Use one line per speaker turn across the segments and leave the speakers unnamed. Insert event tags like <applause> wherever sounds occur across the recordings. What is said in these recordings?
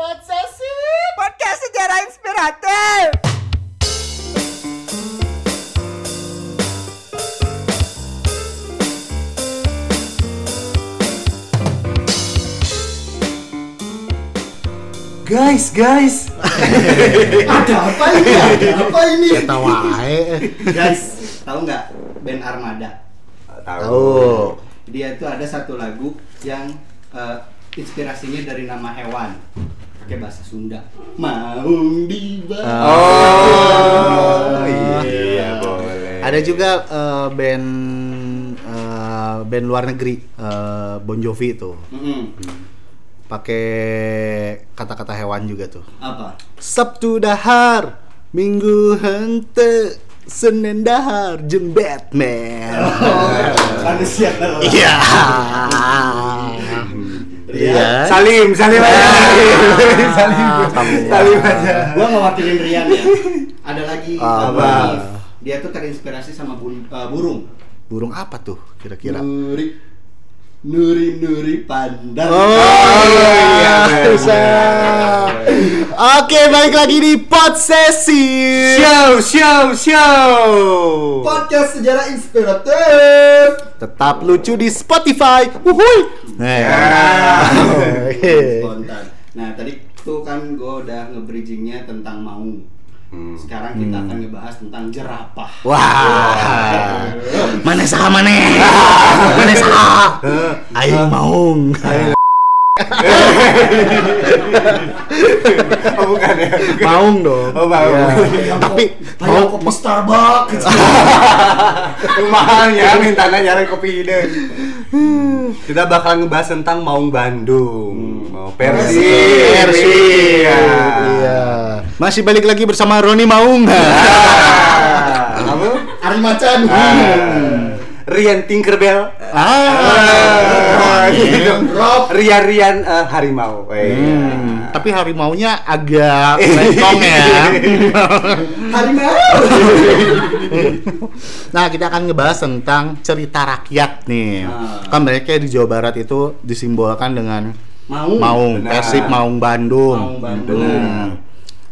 Podcast
Podcast Sejarah Inspiratif.
Guys, guys.
Ada apa ini? Ada apa ini?
Ketawa ae.
Guys, tahu nggak band Armada?
Tahu.
Dia itu ada satu lagu yang eh, inspirasinya dari nama hewan pakai bahasa Sunda. Maung di bawah.
Oh,
iya,
boleh.
Ada juga eh, band eh, band luar negeri eh, Bon Jovi itu
Mm-mm.
pakai kata-kata hewan juga tuh.
<laughs>
Apa?
Sabtu dahar, Minggu hente, Senin dahar, Jeng
<laughs>
Batman.
Oh.
Manusia.
Iya. Iya.
Salim, salim aja.
Ah,
<laughs> salim,
kamu.
salim aja.
Gua ngewakilin Rian ya. Ada lagi
Apa?
Abang Hanif. Dia tuh terinspirasi sama bun- eh, burung.
Burung apa tuh kira-kira?
Nuri Nuri Nuri Pandang.
Oh
iya,
iya,
benar.
bisa. Oke, balik lagi di pot sesi.
Show, show, show.
Podcast sejarah inspiratif.
Tetap lucu di Spotify. Wuhui. Nah. Oke.
Spontan. Nah tadi tuh kan gue udah nge-bridgingnya tentang maung. Sekarang kita akan ngebahas tentang jerapah.
Hmm. Wah. Mana sah mana? Mana sah? Aing maung.
Oh, bukan ya.
Maung dong.
Oh, maung.
Iya. Tapi
Kayak kopi Starbucks.
Iya.
Mahal ya, minta nyari kopi ide. Kita bakal ngebahas tentang Maung Bandung.
Hmm.
Mau Persi.
Persi.
Iya.
Iya. Masih balik lagi bersama Roni Maung.
Ah, Kamu?
Ari Macan.
Ah, Rian Tinkerbell.
Ah.
Ah, gitu.
Iya. Rob.
Rian-rian eh, harimau. Eh,
Hmm,
iya.
tapi harimaunya agak lencong ya.
Harimau.
nah, kita akan ngebahas tentang cerita rakyat nih.
Ah.
Kan mereka di Jawa Barat itu disimbolkan dengan
Maung.
Maung,
benar.
Persib Maung Bandung.
Maung Bandung.
Hmm.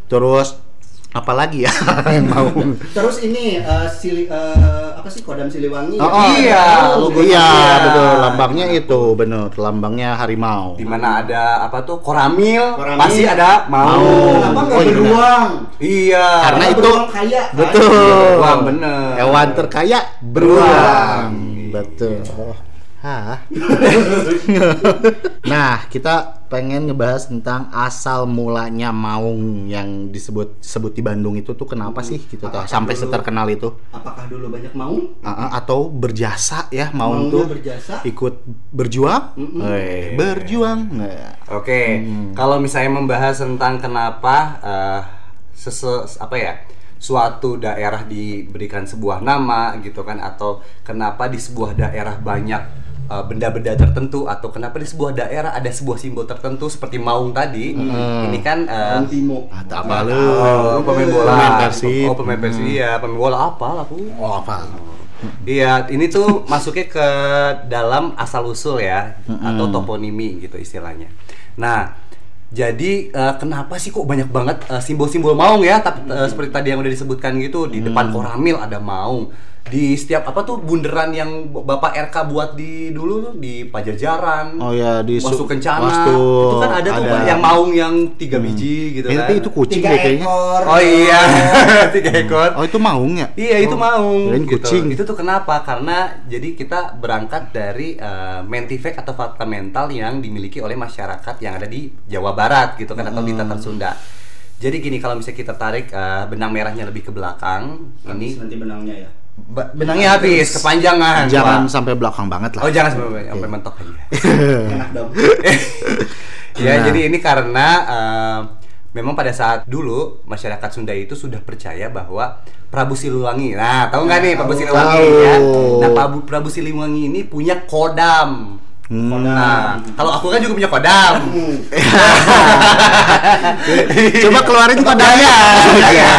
Terus apalagi ya <laughs> yang Maung?
Terus ini eh, sili, eh, apa sih kodam Siliwangi?
Oh, oh,
Iya, logonya
iya,
dia.
betul. Lambangnya itu bener, lambangnya harimau.
Di mana ada apa tuh koramil,
Koramil.
pasti ada mau.
Kenapa nggak
Oh, iya.
beruang?
Iya.
Karena
Karena
itu-
beruang kaya. kan?
Betul.
Beruang, bener.
Hewan terkaya
Beruang.
beruang. Betul. Hah. nah, kita pengen ngebahas tentang asal mulanya Maung yang disebut sebut di Bandung itu tuh kenapa sih gitu
Apakah
tuh sampai
dulu-
seterkenal itu?
Apakah dulu banyak maung?
A- a- atau berjasa ya Maung
Maungnya
tuh
berjasa.
ikut berjuang?
Mm-mm.
Eh, berjuang. Nah,
Oke, kalau misalnya membahas tentang kenapa eh, sese- apa ya suatu daerah diberikan sebuah nama gitu kan atau kenapa di sebuah daerah banyak eh, benda-benda tertentu atau kenapa di sebuah daerah ada sebuah simbol tertentu seperti maung tadi
Hmm.
ini kan eh,
Maung Timo.
Ada Ah, apa lu?
oh, pemain bola
Pemain Persib. Hmm.
oh pemain persib iya pemain bola apa lah aku
Oh, apa?
Iya, ini tuh
<laughs>
masuknya ke dalam asal usul ya atau toponimi gitu istilahnya. Nah, jadi eh, kenapa sih kok banyak banget eh, simbol-simbol maung ya? Tapi eh, seperti tadi yang udah disebutkan gitu di depan koramil ada maung. Di setiap apa tuh bunderan yang Bapak RK buat di dulu tuh di Pajajaran.
Oh ya, di su-
Wastu Kencana.
Wastu
itu kan ada, tuh
ada.
yang maung yang tiga biji gitu
Eh,
kan.
tapi itu kucing
Tiga
deh kayaknya.
ekor.
Oh
<laughs>
iya, <laughs> tiga ekor.
Oh, itu Maung ya?
Iya itu maung
Kirain
gitu.
kucing.
Itu tuh kenapa? Karena jadi kita berangkat dari eh, mentifek atau fakta mental yang dimiliki oleh masyarakat yang ada di Jawa Barat gitu kan atau di
Hmm.
Tatar Sunda. Jadi gini kalau misalnya kita tarik eh, benang merahnya lebih ke belakang,
Habis
ini
nanti benangnya ya.
ba- benangnya habis kepanjangan.
Jangan
Wah.
sampai belakang banget lah.
Oh jangan sampai sampai mentok aja.
Enak dong.
ya
Nah.
jadi ini karena eh, memang pada saat dulu masyarakat Sunda itu sudah percaya bahwa Prabu Siliwangi. Nah, tahu nggak nih
Tahu,
Prabu Siliwangi
tahu.
ya? Nah, Prabu, Prabu Siliwangi ini punya kodam.
Hmm.
<laughs> Nah, kalau aku kan juga punya kodam.
Eh,
Coba keluarin juga daya.
Iya.
Nah.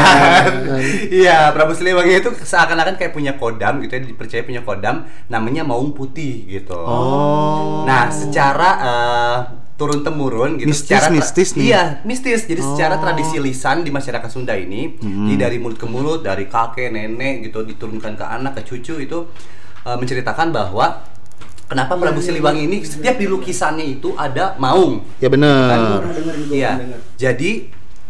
<laughs> Iya, Prabu Siliwangi itu seakan-akan kayak punya kodam gitu ya, dipercaya punya kodam namanya Maung Putih gitu.
Oh.
Nah, secara eh, turun temurun gitu
Mistis-
secara tra-
mistis nih.
iya mistis jadi
Oh.
secara
Mm-hmm.
tradisi lisan di masyarakat Sunda ini jadi dari mulut ke mulut dari kakek nenek gitu diturunkan ke anak ke cucu itu eh, menceritakan bahwa kenapa Prabu Siliwangi ini setiap di lukisannya itu ada maung
Ya bener.
Pernah dengerin gua,
Iya.
pernah denger.
Jadi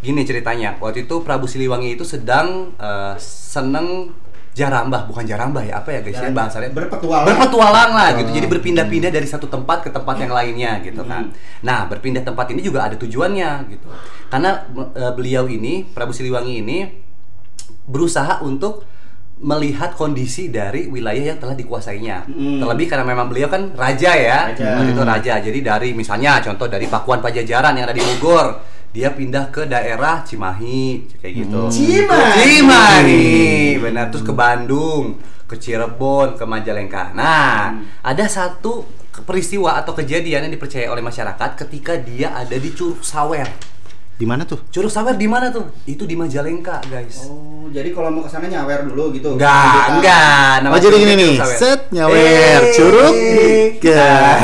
gini ceritanya. Waktu itu Prabu Siliwangi itu sedang eh, seneng jarambah, bukan jarambah ya, apa ya guys? Ya,
Jarambah.
bahasanya
Berpetualang.
Berpetualang lah gitu. Jadi berpindah-pindah dari satu tempat ke tempat yang lainnya gitu kan.
Hmm.
Nah, berpindah tempat ini juga ada tujuannya gitu. Karena eh, beliau ini Prabu Siliwangi ini berusaha untuk melihat kondisi dari wilayah yang telah dikuasainya.
Hmm.
Terlebih karena memang beliau kan raja ya,
Raja. Hmm.
Waktu itu raja. Jadi dari misalnya contoh dari Pakuan Pajajaran yang ada di Bogor, dia pindah ke daerah Cimahi kayak gitu.
Cimahi.
Cimahi, benar. Terus ke Bandung, ke Cirebon, ke Majalengka. Nah, ada satu ke- peristiwa atau kejadian yang dipercaya oleh masyarakat ketika dia ada di Curug Sawer.
Di mana tuh?
Curug Sawer di mana tuh? Itu di Majalengka, guys.
Oh, jadi kalau mau kesana nyawer dulu gitu.
Enggak,
Kita-
enggak. Nama
Oh, jadi
curugnya
gini nih,
curug sawer.
set, nyawer, curug,
Eh,
ke-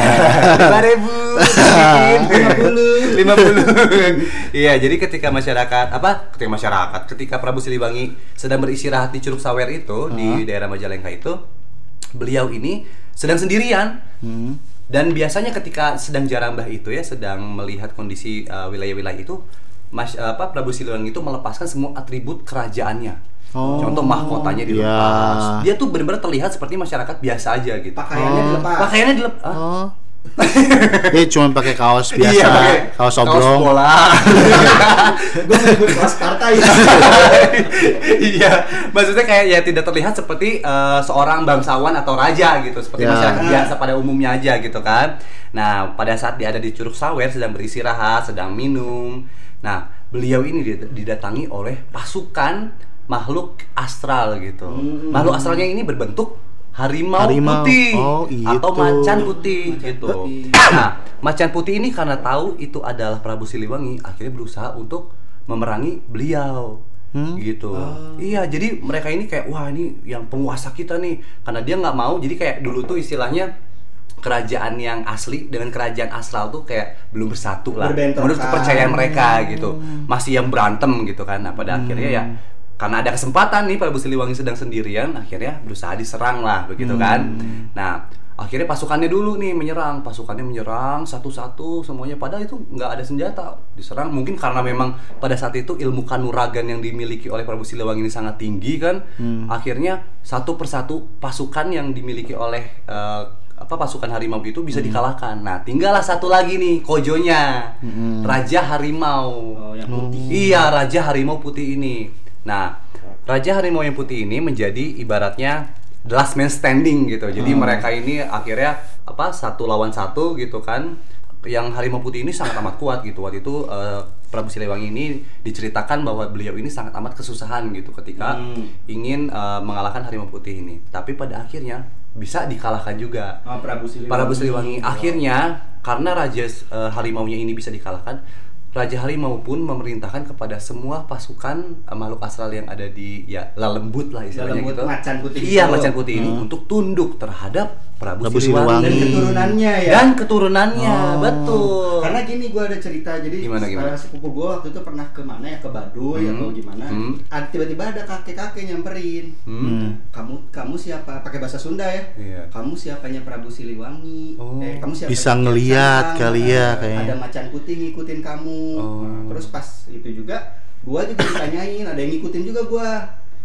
Lima ribu,
Lima puluh.
<laughs> lima puluh. Iya, jadi ketika masyarakat apa? Ketika masyarakat, ketika Prabu Siliwangi sedang beristirahat di Curug Sawer itu di daerah Majalengka itu, beliau ini sedang sendirian.
Hmm.
Dan biasanya ketika sedang jarambah itu ya, sedang melihat kondisi uh, wilayah-wilayah itu, mas, eh, apa Prabu Siliwangi itu melepaskan semua atribut kerajaannya.
Oh.
Contoh mahkotanya
Iya.
dilepas. Dia tuh benar-benar terlihat seperti masyarakat biasa aja gitu.
Pakaiannya
Oh.
dilepas.
Pakaiannya dilepas.
Oh. Dia cuma pakai kaos biasa,
Iya, pakai
kaos
Kaos
oblong.
bola.
Gue kelas partai.
<laughs> Iya, maksudnya kayak ya tidak terlihat seperti eh, seorang bangsawan atau raja gitu, seperti
Ya.
masyarakat biasa pada umumnya aja gitu kan. Nah, pada saat dia ada di Curug Sawer sedang beristirahat, sedang minum. Nah, beliau ini did- didatangi oleh pasukan makhluk astral gitu. Makhluk astralnya ini berbentuk harimau,
Harimau.
putih
Oh, iya
atau
tuh.
macan putih gitu.
putih.
Nah, <clears throat> macan putih ini karena tahu itu adalah Prabu Siliwangi, akhirnya berusaha untuk memerangi beliau.
Hmm.
Gitu. Iya, jadi mereka ini kayak wah ini yang penguasa kita nih, karena dia nggak mau. Jadi kayak dulu tuh istilahnya kerajaan yang asli dengan kerajaan astral tuh kayak belum bersatu lah.
Berbentrokan.
Menurut kepercayaan mereka gitu, masih yang berantem gitu kan. Nah, pada akhirnya ya karena ada kesempatan nih Prabu Siliwangi sedang sendirian, akhirnya berusaha diserang lah begitu kan. Nah, akhirnya pasukannya dulu nih menyerang, pasukannya menyerang satu-satu semuanya padahal itu nggak ada senjata diserang mungkin karena memang pada saat itu ilmu kanuragan yang dimiliki oleh Prabu Siliwangi ini sangat tinggi kan. Akhirnya satu persatu pasukan yang dimiliki oleh eh, apa pasukan harimau itu bisa dikalahkan. Nah, tinggallah satu lagi nih kojonya. Raja harimau.
Oh, yang putih.
Iya, raja harimau putih ini. Nah, raja harimau yang putih ini menjadi ibaratnya the last man standing gitu. Jadi mereka ini akhirnya apa satu lawan satu gitu kan. Yang harimau putih ini sangat amat kuat gitu. Waktu itu eh, Prabu Siliwangi ini diceritakan bahwa beliau ini sangat amat kesusahan gitu ketika
Hmm.
ingin eh, mengalahkan harimau putih ini. Tapi pada akhirnya bisa dikalahkan juga.
Oh, Prabu Siliwangi.
Para Siliwangi akhirnya karena raja eh, harimau-nya ini bisa dikalahkan, raja harimau pun memerintahkan kepada semua pasukan eh, makhluk astral yang ada di ya lelembut lah istilahnya
Lelembut,
gitu.
macan putih
Iya,
gitu.
macan putih ini untuk tunduk terhadap Prabu,
Prabu
Dan
Siliwangi.
Siliwangi.
keturunannya ya. Oh.
Dan keturunannya, betul.
Karena gini gue ada cerita, jadi
Gimana, gimana?
eh, sepupu gue waktu itu pernah kemana ya ke Baduy
Hmm.
atau gimana,
Hmm.
Ad- tiba-tiba ada kakek-kakek nyamperin.
Hmm.
Kamu kamu siapa? Pakai bahasa Sunda ya.
Iya.
Kamu siapanya Prabu Siliwangi?
Oh.
Eh, kamu siapa?
Bisa ngeliat kali ya, kayaknya.
Ada macan putih ngikutin kamu.
Oh.
Nah, terus pas itu juga, gue juga ditanyain, ada yang ngikutin juga gue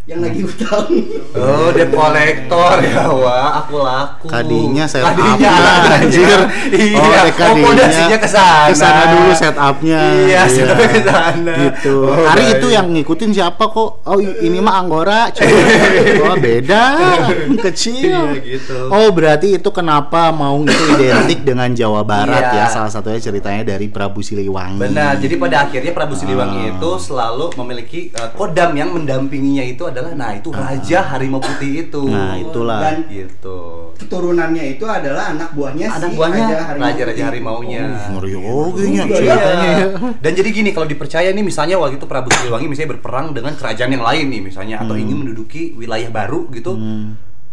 yang lagi utang.
Hmm. Oh, debt collector ya, wah, aku laku.
Kadinya set
Kadinya,
up-nya, anjir.
<laughs> Iya,
Oh,
oh,
ada kadinya.
fondasinya kesana.
Kesana dulu set up-nya.
Iya,
Iya.
set up kesana.
Gitu.
Oh,
Hari
baik.
itu yang ngikutin siapa kok? Oh, i- ini mah Anggora.
<laughs>
Cuma oh, beda.
Iya,
Kecil.
gitu.
Oh, berarti itu kenapa Maung itu identik dengan Jawa Barat ya?
Iya.
Salah satunya ceritanya dari Prabu Siliwangi.
Benar. Jadi pada akhirnya
Ah.
Prabu Siliwangi itu selalu memiliki eh, kodam yang mendampinginya itu adalah nah itu raja harimau putih itu.
Nah, itulah.
Dan
gitu.
keturunannya itu adalah anak buahnya
Anak
si
buahnya
Iya Harimau
raja-raja
Putih.
harimaunya.
Ngeri oge nya
Iya.
ceritanya ya.
Dan jadi gini, kalau dipercaya nih misalnya waktu itu Prabu
Hmm.
Siliwangi misalnya berperang dengan kerajaan yang lain nih misalnya atau ingin menduduki wilayah baru gitu.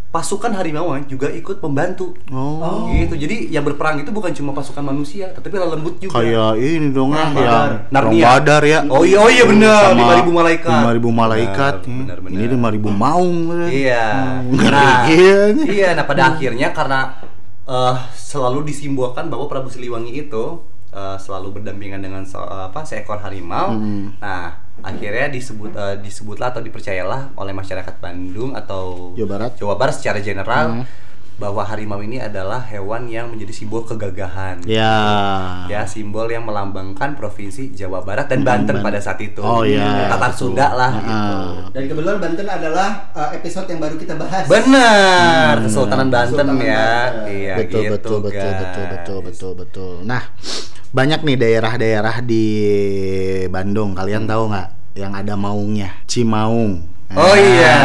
pasukan harimau juga ikut membantu.
Oh.
Gitu. Jadi yang berperang itu bukan cuma pasukan manusia, tapi ada lembut juga.
Kayak ini dong ah, yang Perang
Iya. Narnia.
Badar ya.
Oh iya, oh iya benar,
Sama
5.000 malaikat.
5.000 malaikat. Hmm.
Benar, benar, benar.
Ini 5000 maung. ya.
Iya.
Ngeri
Nah,
iya nih.
iya. Nah pada akhirnya karena eh, selalu disimbolkan bahwa Prabu Siliwangi itu eh, selalu berdampingan dengan se- apa seekor harimau.
Hmm.
Nah akhirnya disebut eh, disebutlah atau dipercayalah oleh masyarakat Bandung atau
Jawa Barat. Hmm.
Jawa Barat secara general bahwa harimau ini adalah hewan yang menjadi simbol kegagahan.
Ya.
Ya, simbol yang melambangkan provinsi Jawa Barat dan Banten
Hmm, Banten.
pada saat itu.
Oh, iya.
Tatar Sunda lah gitu.
Ah.
Dan kebetulan Banten adalah uh, episode yang baru kita bahas.
Benar, Kesultanan Banten
Kesultanan
ya.
Banten.
Iya
Hmm. betul
gitu,
betul betul
guys.
betul betul betul betul nah banyak nih daerah-daerah di Bandung kalian tahu nggak yang ada maungnya Cimaung Nah,
Oh, iya.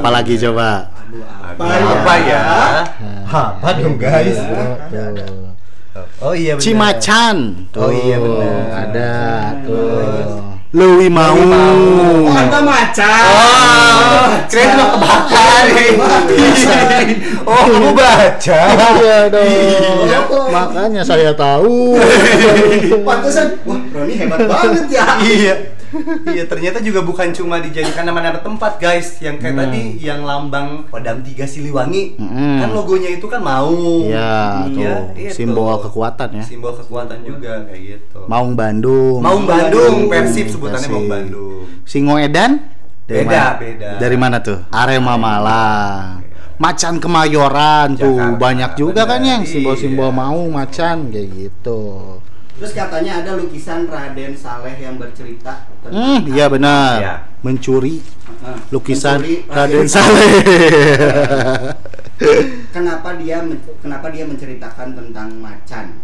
apalagi coba
Aduh, apa,
Apa, ya?
Apa
dong, guys?
Iya.
Iya. Oh iya benar.
Cimacan
Oh, iya, bener.
ada tuh
Terus.
Lewi Maung
Oh,
Maung.
ada macan.
Oh, keren lo kebakar <laughs> Oh, kamu baca.
iya dong
Iya.
makanya saya tahu
Pantesan, wah Roni hebat banget ya.
iya. Iya, ternyata juga bukan cuma dijadikan nama-nama tempat, guys.
Hmm.
Yang kayak tadi yang lambang Padam Tiga Siliwangi.
Mm.
Kan logonya itu kan maung.
Iya, tuh.
itu.
Simbol kekuatan ya.
Simbol kekuatan juga kayak gitu.
Maung Bandung
Maung Bandung, Persib sebutannya
Persib.
Maung Bandung.
Singo Edan
Beda,
mana?
beda.
Dari mana tuh? Arema Malang. Macan Kemayoran tuh
Jakarta,
banyak juga kan
bener.
yang simbol-simbol
Iya.
maung macan kayak gitu.
Terus katanya ada lukisan Raden Saleh yang bercerita
Hmm,
tentang
iya benar.
Iya.
Mencuri
Heeh.
lukisan
Mencuri
Raden Saleh.
<laughs> Kenapa dia men- kenapa dia menceritakan tentang macan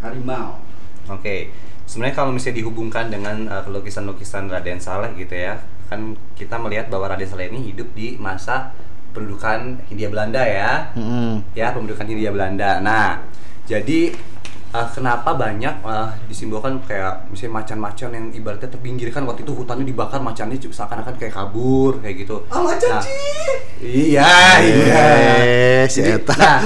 harimau?
Oke, sebenarnya kalau misalnya dihubungkan dengan uh, lukisan-lukisan Raden Saleh gitu ya, kan kita melihat bahwa Raden Saleh ini hidup di masa pendudukan Hindia Belanda ya,
Mm-mm.
ya pendudukan Hindia Belanda. Nah, jadi uh, kenapa banyak uh, disimbolkan kayak misalnya macan-macan yang ibaratnya terpinggirkan waktu itu hutannya dibakar macannya cu- seakan-akan kayak kabur kayak gitu.
Ah, macan
Nah,
cih.
Iya, iya.
Eh, si
Jadi,
Eta.
nah,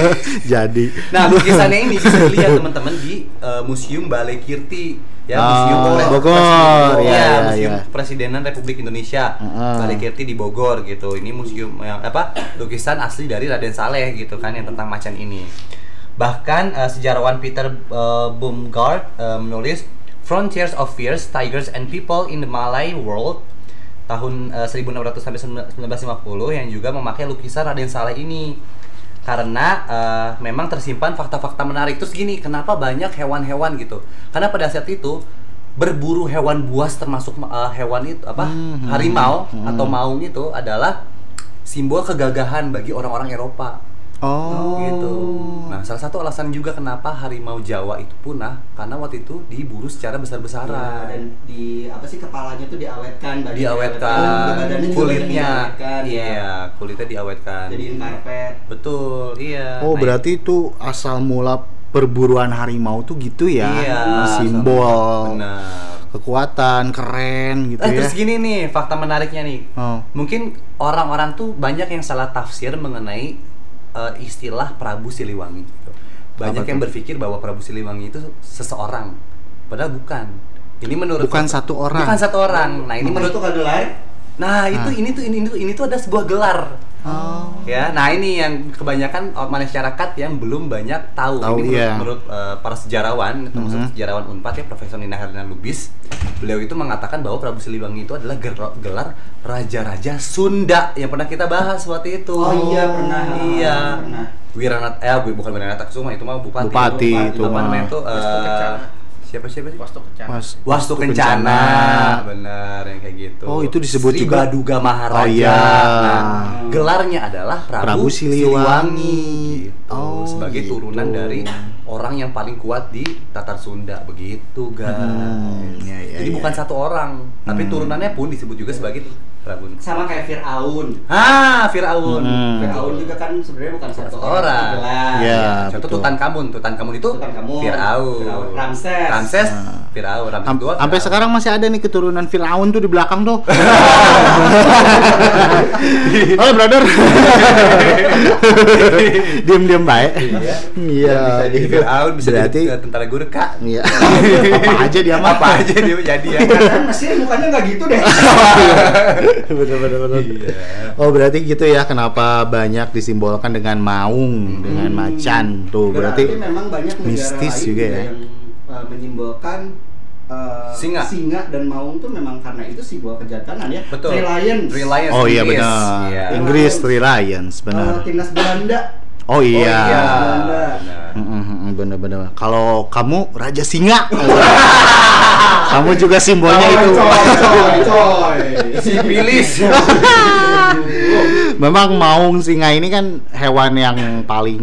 <laughs> Jadi.
<laughs> Nah, lukisannya ini bisa dilihat teman-teman di eh, Museum Balai Kirti ya,
Ah,
Museum Balai-
Bogor.
Presiden-
Iya,
ya,
iya,
Museum
iya.
Presidenan Republik Indonesia.
Heeh.
Balai Kirti di Bogor gitu. Ini museum yang apa? Lukisan asli dari Raden Saleh gitu kan yang tentang macan ini. Bahkan eh, sejarawan Peter eh, Baumgart eh, menulis Frontiers of Fierce Tigers and People in the Malay World tahun eh, 1600 sampai 1950 yang juga memakai lukisan Raden Saleh ini karena eh, memang tersimpan fakta-fakta menarik. Terus gini, kenapa banyak hewan-hewan gitu? Karena pada saat itu berburu hewan buas termasuk eh, hewan itu apa
Hmm,
harimau atau maung itu adalah simbol kegagahan bagi orang-orang Eropa
Oh.
gitu. Nah, salah satu alasan juga kenapa harimau Jawa itu punah karena waktu itu diburu secara
Dan
besar-besaran.
di apa sih kepalanya tuh diawetkan, badannya diawetkan,
diawetkan
Iya. badannya juga
kulitnya,
diawetkan, ya.
iya kulitnya diawetkan.
Jadiin karpet.
Betul, iya.
Oh,
Nah,
berarti itu asal mula perburuan harimau tuh gitu ya.
Iya,
Simbol
Benar.
kekuatan, keren gitu
Eh,
ya.
terus gini nih fakta menariknya nih.
Oh.
Mungkin orang-orang tuh banyak yang salah tafsir mengenai eh, istilah Prabu Siliwangi. gitu.
Apa
Banyak yang
tuh?
berpikir bahwa Prabu Siliwangi itu seseorang, padahal bukan. Ini menurut
Bukan satu orang.
Bukan satu orang. Nah
Ini
ini menurut
menurut kado lain?
Nah itu ini tuh ini tuh ini tuh ada sebuah gelar.
Ah. Oh.
Ya, nah ini yang kebanyakan uh, masyarakat yang belum banyak tahu.
Tahu,
ini menurut,
iya. Mm-hmm.
menurut, uh, para sejarawan, termasuk sejarawan Unpad ya Profesor Nina Herlina Lubis, beliau itu mengatakan bahwa Prabu Siliwangi itu adalah ger- gelar raja-raja Sunda yang pernah kita bahas waktu itu.
Oh, iya, pernah.
Iya.
Pernah.
Wiranat eh bu- bukan Wiranata Kusuma itu mah bupati.
Bupati
itu
Apa
mah.
namanya tuh? eh,
Wastu Kencana.
siapa siapa sih?
Wastu Kencana.
Mas-
Wastu Kencana, benar yang kayak gitu.
Oh, itu disebut
Sri
juga-
Baduga
Oh,
Maharaja.
iya.
Nah, gelarnya adalah Prabu,
Prabu
Siliwangi,
Siliwangi.
gitu.
Oh,
sebagai
gitu.
turunan dari orang yang paling kuat di Tatar Sunda begitu, guys.
Hmm, iya, iya,
Jadi
iya. Hmm.
bukan satu orang, tapi turunannya pun disebut juga sebagai Rabun.
sama kayak Firaun.
Ah, Firaun.
Hmm.
Firaun juga kan sebenarnya bukan satu orang,
Orang.
tapi gelas.
ya.
Iya.
Contoh
betul.
Tutankamun, Tutankamun itu
Tutankamun,
Firaun.
Firaun. Ramses.
Ramses,
Nah.
Firaun, Ramses
Am-
dua,
Sampai
Firaun.
sekarang masih ada nih keturunan Firaun tuh di belakang
<laughs>
tuh. Halo
<laughs>
brother. Diam-diam baik.
Iya.
Iya.
Bisa
<laughs>
jadi Firaun, bisa
Berarti
jadi tentara Gurkha. <laughs>
Iya. Apa aja dia mah. <laughs>
Apa aja dia jadi ya. kan?
Kan Mesir mukanya nggak gitu deh.
bener bener bener.
Iya.
Oh berarti gitu ya kenapa banyak disimbolkan dengan
Hmm.
maung <laughs> dengan macan tuh berarti,
memang banyak negara
mistis
lain
juga ya.
yang uh, menyimbolkan uh,
Singa.
dan maung tuh memang karena itu sebuah kejantanan ya.
Betul.
Three Lions.
Reliance.
Oh iya
Inggris.
benar.
Iya.
Inggris Three Lions
Uh,
benar.
timnas Belanda.
Oh
Oh
iya.
iya.
Benar.
Benar.
Mm-mm, Bener-bener. Kalau kamu raja singa, kamu juga simbolnya Oh, itu.
coy,
<laughs>
coy.
Sipilis.
Memang maung singa ini kan hewan yang paling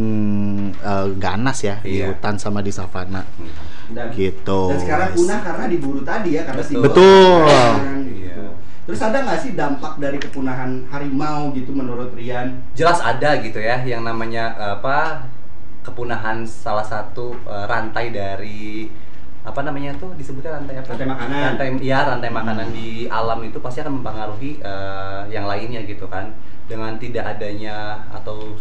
eh, ganas ya di
Iya.
hutan sama di savana.
Dan,
Gitu.
dan sekarang punah karena diburu tadi ya karena
Betul.
simbol.
Betul.
Orang,
Iya.
gitu. Terus ada nggak sih dampak dari kepunahan harimau gitu menurut Rian?
<laughs> jelas ada gitu ya yang namanya eh, apa kepunahan salah satu eh, rantai dari apa namanya tuh disebutnya rantai apa?
Rantai makanan.
Rantai ya rantai makanan di alam itu pasti akan mempengaruhi eh, yang lainnya gitu kan. Dengan tidak adanya atau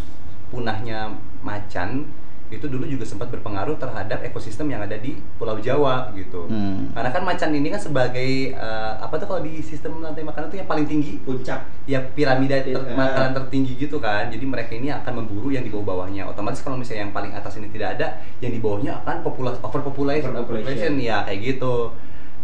punahnya macan itu dulu juga sempat berpengaruh terhadap ekosistem yang ada di Pulau Jawa gitu.
Hmm.
Karena kan macan ini kan sebagai eh, apa tuh kalau di sistem rantai makanan tuh yang paling tinggi
Puncak.
ya piramida ter-
Iya.
makanan tertinggi gitu kan jadi mereka ini akan memburu yang di bawah bawahnya otomatis kalau misalnya yang paling atas ini tidak ada yang di bawahnya akan populasi overpopulation
Overpopulation.
overpopulation ya kayak gitu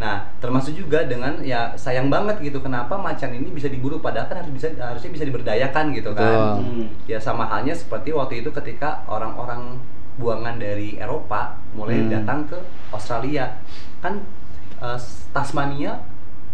nah termasuk juga dengan ya sayang banget gitu kenapa macan ini bisa diburu padahal kan harus bisa harusnya bisa diberdayakan gitu kan
Betul.
Hmm.
ya sama halnya seperti waktu itu ketika orang-orang buangan dari Eropa mulai
Hmm.
datang ke Australia kan eh, Tasmania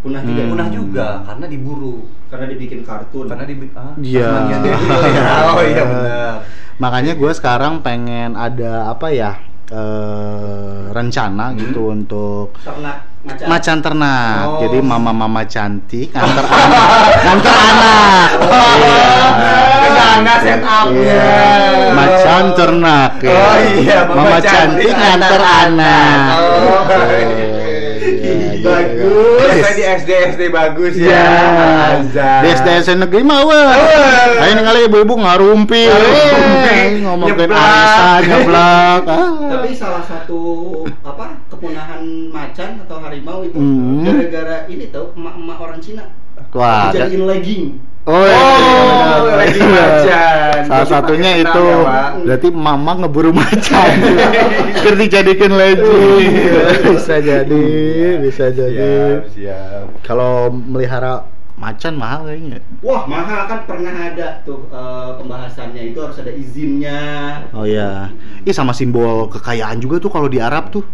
Punah
Hmm.
juga.
punah juga karena diburu
Karena dibikin kartun.
karena di ah,
Iya.
Tasmania dulu ya. oh iya benar
Makanya gue sekarang pengen ada apa ya eh, rencana gitu untuk
ternak macan.
macan ternak.
Oh.
Jadi mama-mama cantik antar anak,
<laughs>
antar anak. Iya.
Oh. Ke sana set up-nya.
Iya. Macan ternak. ya.
Oh iya, mama
mama cantik
cantik
antar
antar
anak.
anak. Oh.
Iya, gitu.
bagus di SD SD bagus
Ya, di SDSN negeri mah wah. Kayak ini kali ibu-ibu ngarumpi,
Ngarumpi,
Eh, ngomongin
nyeblak.
arisan nyeblak. Ah.
Tapi salah satu apa kepunahan macan atau harimau itu
Hmm.
gara-gara ini tau emak-emak orang Cina
Wah, ada-
dijadiin legging.
Oh, iya, benar.
lagi macan.
Salah
Jadi
satunya
makin
itu
kenal ya, Pak.
berarti mama ngeburu macan.
<laughs>
Biar dijadikan legend. bisa jadi, bisa jadi.
Iya. siap siap
Kalau melihara macan mahal kayaknya.
Wah mahal kan pernah ada tuh eh, pembahasannya itu harus ada izinnya.
Oh iya. Ih sama simbol kekayaan juga tuh kalau di Arab tuh.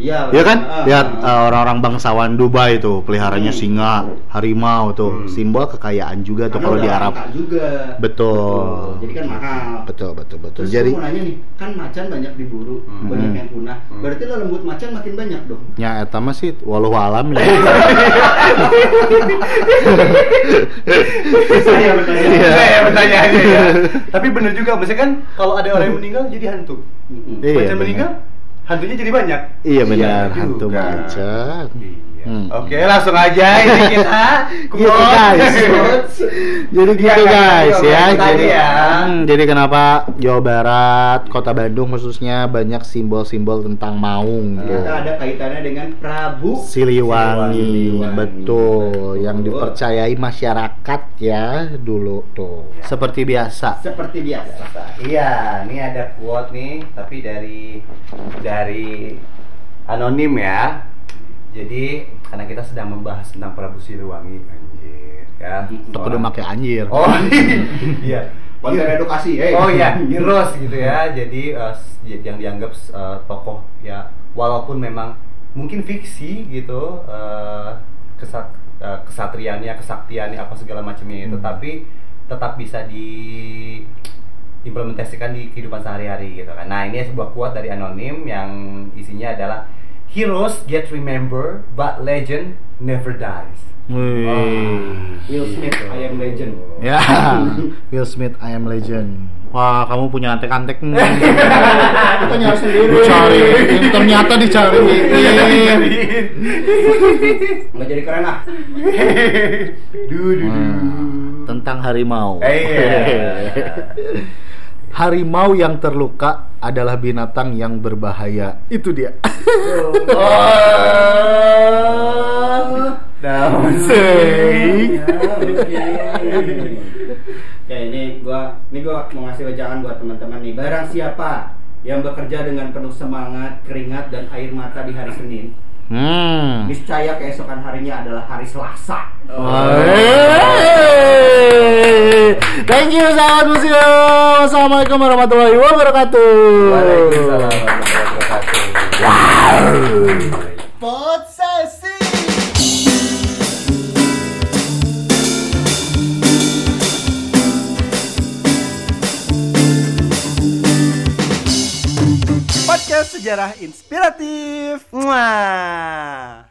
Iya.
Iya kan?
ah,
Lihat
ah.
uh, orang-orang bangsawan Dubai tuh peliharanya
Hmm.
singa, harimau tuh.
Hmm.
Simbol kekayaan juga tuh
Karena
kalau di
udah
Arab.
langka juga.
Betul.
Jadi kan mahal.
Betul, betul, betul.
Terus
Jadi
aku mau nanya nih, kan macan banyak diburu,
Hmm.
banyak yang punah.
Hmm.
Berarti lembut macan makin banyak
<laughs>
dong.
Ya, eta mah sih walau alam ya.
<laughs>
Saya bertanya. Iya,
Iya, ya,
<laughs>
pertanyaannya ya. Tapi bener juga, maksudnya kan kalau ada orang yang meninggal jadi hantu.
Mm-mm.
Iya,
Macan
bener.
meninggal, hantunya jadi banyak.
Iya benar,
Iya
hantu
juga.
macan.
Iya.
Hmm.
Oke, langsung aja ini kita.
Gitu guys. jadi
Iya,
gitu
kan,
guys ya.
tadi orang
Jadi,
tadi ya.
Hmm, jadi kenapa Jawa Barat, Kota Bandung khususnya banyak simbol-simbol tentang maung. gitu.
Ternyata ada kaitannya dengan Prabu
Siliwangi,
Siliwangi.
betul, yang
Betul.
dipercayai masyarakat ya dulu tuh. Seperti biasa.
seperti biasa.
Iya, ini ada quote nih, tapi dari dari anonim ya. Jadi karena kita sedang membahas tentang Prabu Siliwangi, anjir ya.
Untuk kudu pakai anjir.
Oh
<laughs>
iya.
Konten edukasi, eh. <laughs>
Oh iya, heroes gitu ya. Jadi eh, s- yang dianggap eh, tokoh ya walaupun memang mungkin fiksi gitu eh, kesak- eh, kesatriannya, kesaktiannya apa segala macamnya itu tapi tetap bisa diimplementasikan di kehidupan sehari-hari gitu kan. Nah, ini sebuah quote dari anonim yang isinya adalah Heroes get remember, but legend never dies.
Wih.
Will Smith, I am legend.
Ya, <laughs> Will Smith, I am Legend. Wah, kamu punya <laughs> antek-antek nih.
Kita nyari sendiri.
Dicari, ternyata dicari.
Nggak jadi keren ah.
Du du du.
Tentang harimau.
Eh, iya.
<laughs> harimau yang terluka adalah binatang yang berbahaya. Itu <laughs> dia.
<laughs>
Oh. Down
Sing.
Oke ini gua, ini gua mau ngasih wejangan buat teman-teman nih. Barang siapa yang bekerja dengan penuh semangat, keringat dan air mata di hari Senin,
Hmm.
niscaya keesokan harinya adalah hari Selasa.
Oh. Hey. Thank you sahabat museum. Assalamualaikum warahmatullahi wabarakatuh.
Waalaikumsalam warahmatullahi wabarakatuh.
Podcast sejarah inspiratif. Mwah.